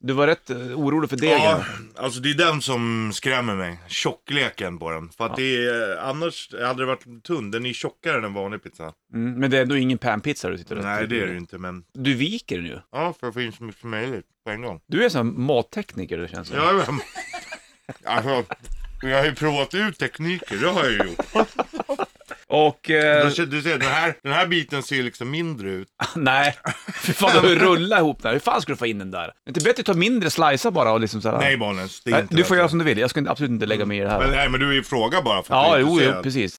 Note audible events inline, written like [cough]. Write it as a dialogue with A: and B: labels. A: Du var rätt eh, orolig för degen.
B: Ja, alltså det är den som skrämmer mig. Tjockleken på den. För att det är, eh, annars hade det varit tunn. Den är tjockare än en vanlig pizza.
A: Mm, men det är ändå ingen panpizza du sitter och-
B: Nej, det är det ju inte, men
A: Du viker den ju.
B: ja, för att få in så mycket som möjligt på en gång.
A: Du är en sån här mattekniker det känns som.
B: Ja, [laughs] men, alltså, jag har ju provat ut tekniker, det har jag ju gjort.
A: Och... Eh,
B: Du ser- Du ser, den här, den här biten ser ju liksom mindre ut.
A: [laughs] nej. Fy fan, du har ju rullat ihop den här. Hur fan ska du få in den där? Är det inte bättre att ta mindre slicear bara och liksom så här,
B: Nej, Bonnes, det är
A: Nej,
B: inte
A: Du får
B: det.
A: göra som du vill. Jag ska inte- absolut inte lägga mig i det här.
B: men, Nej, men du är ju fråga bara för att
A: Ja,
B: du är
A: jo, jo,
B: intresserad.
A: precis.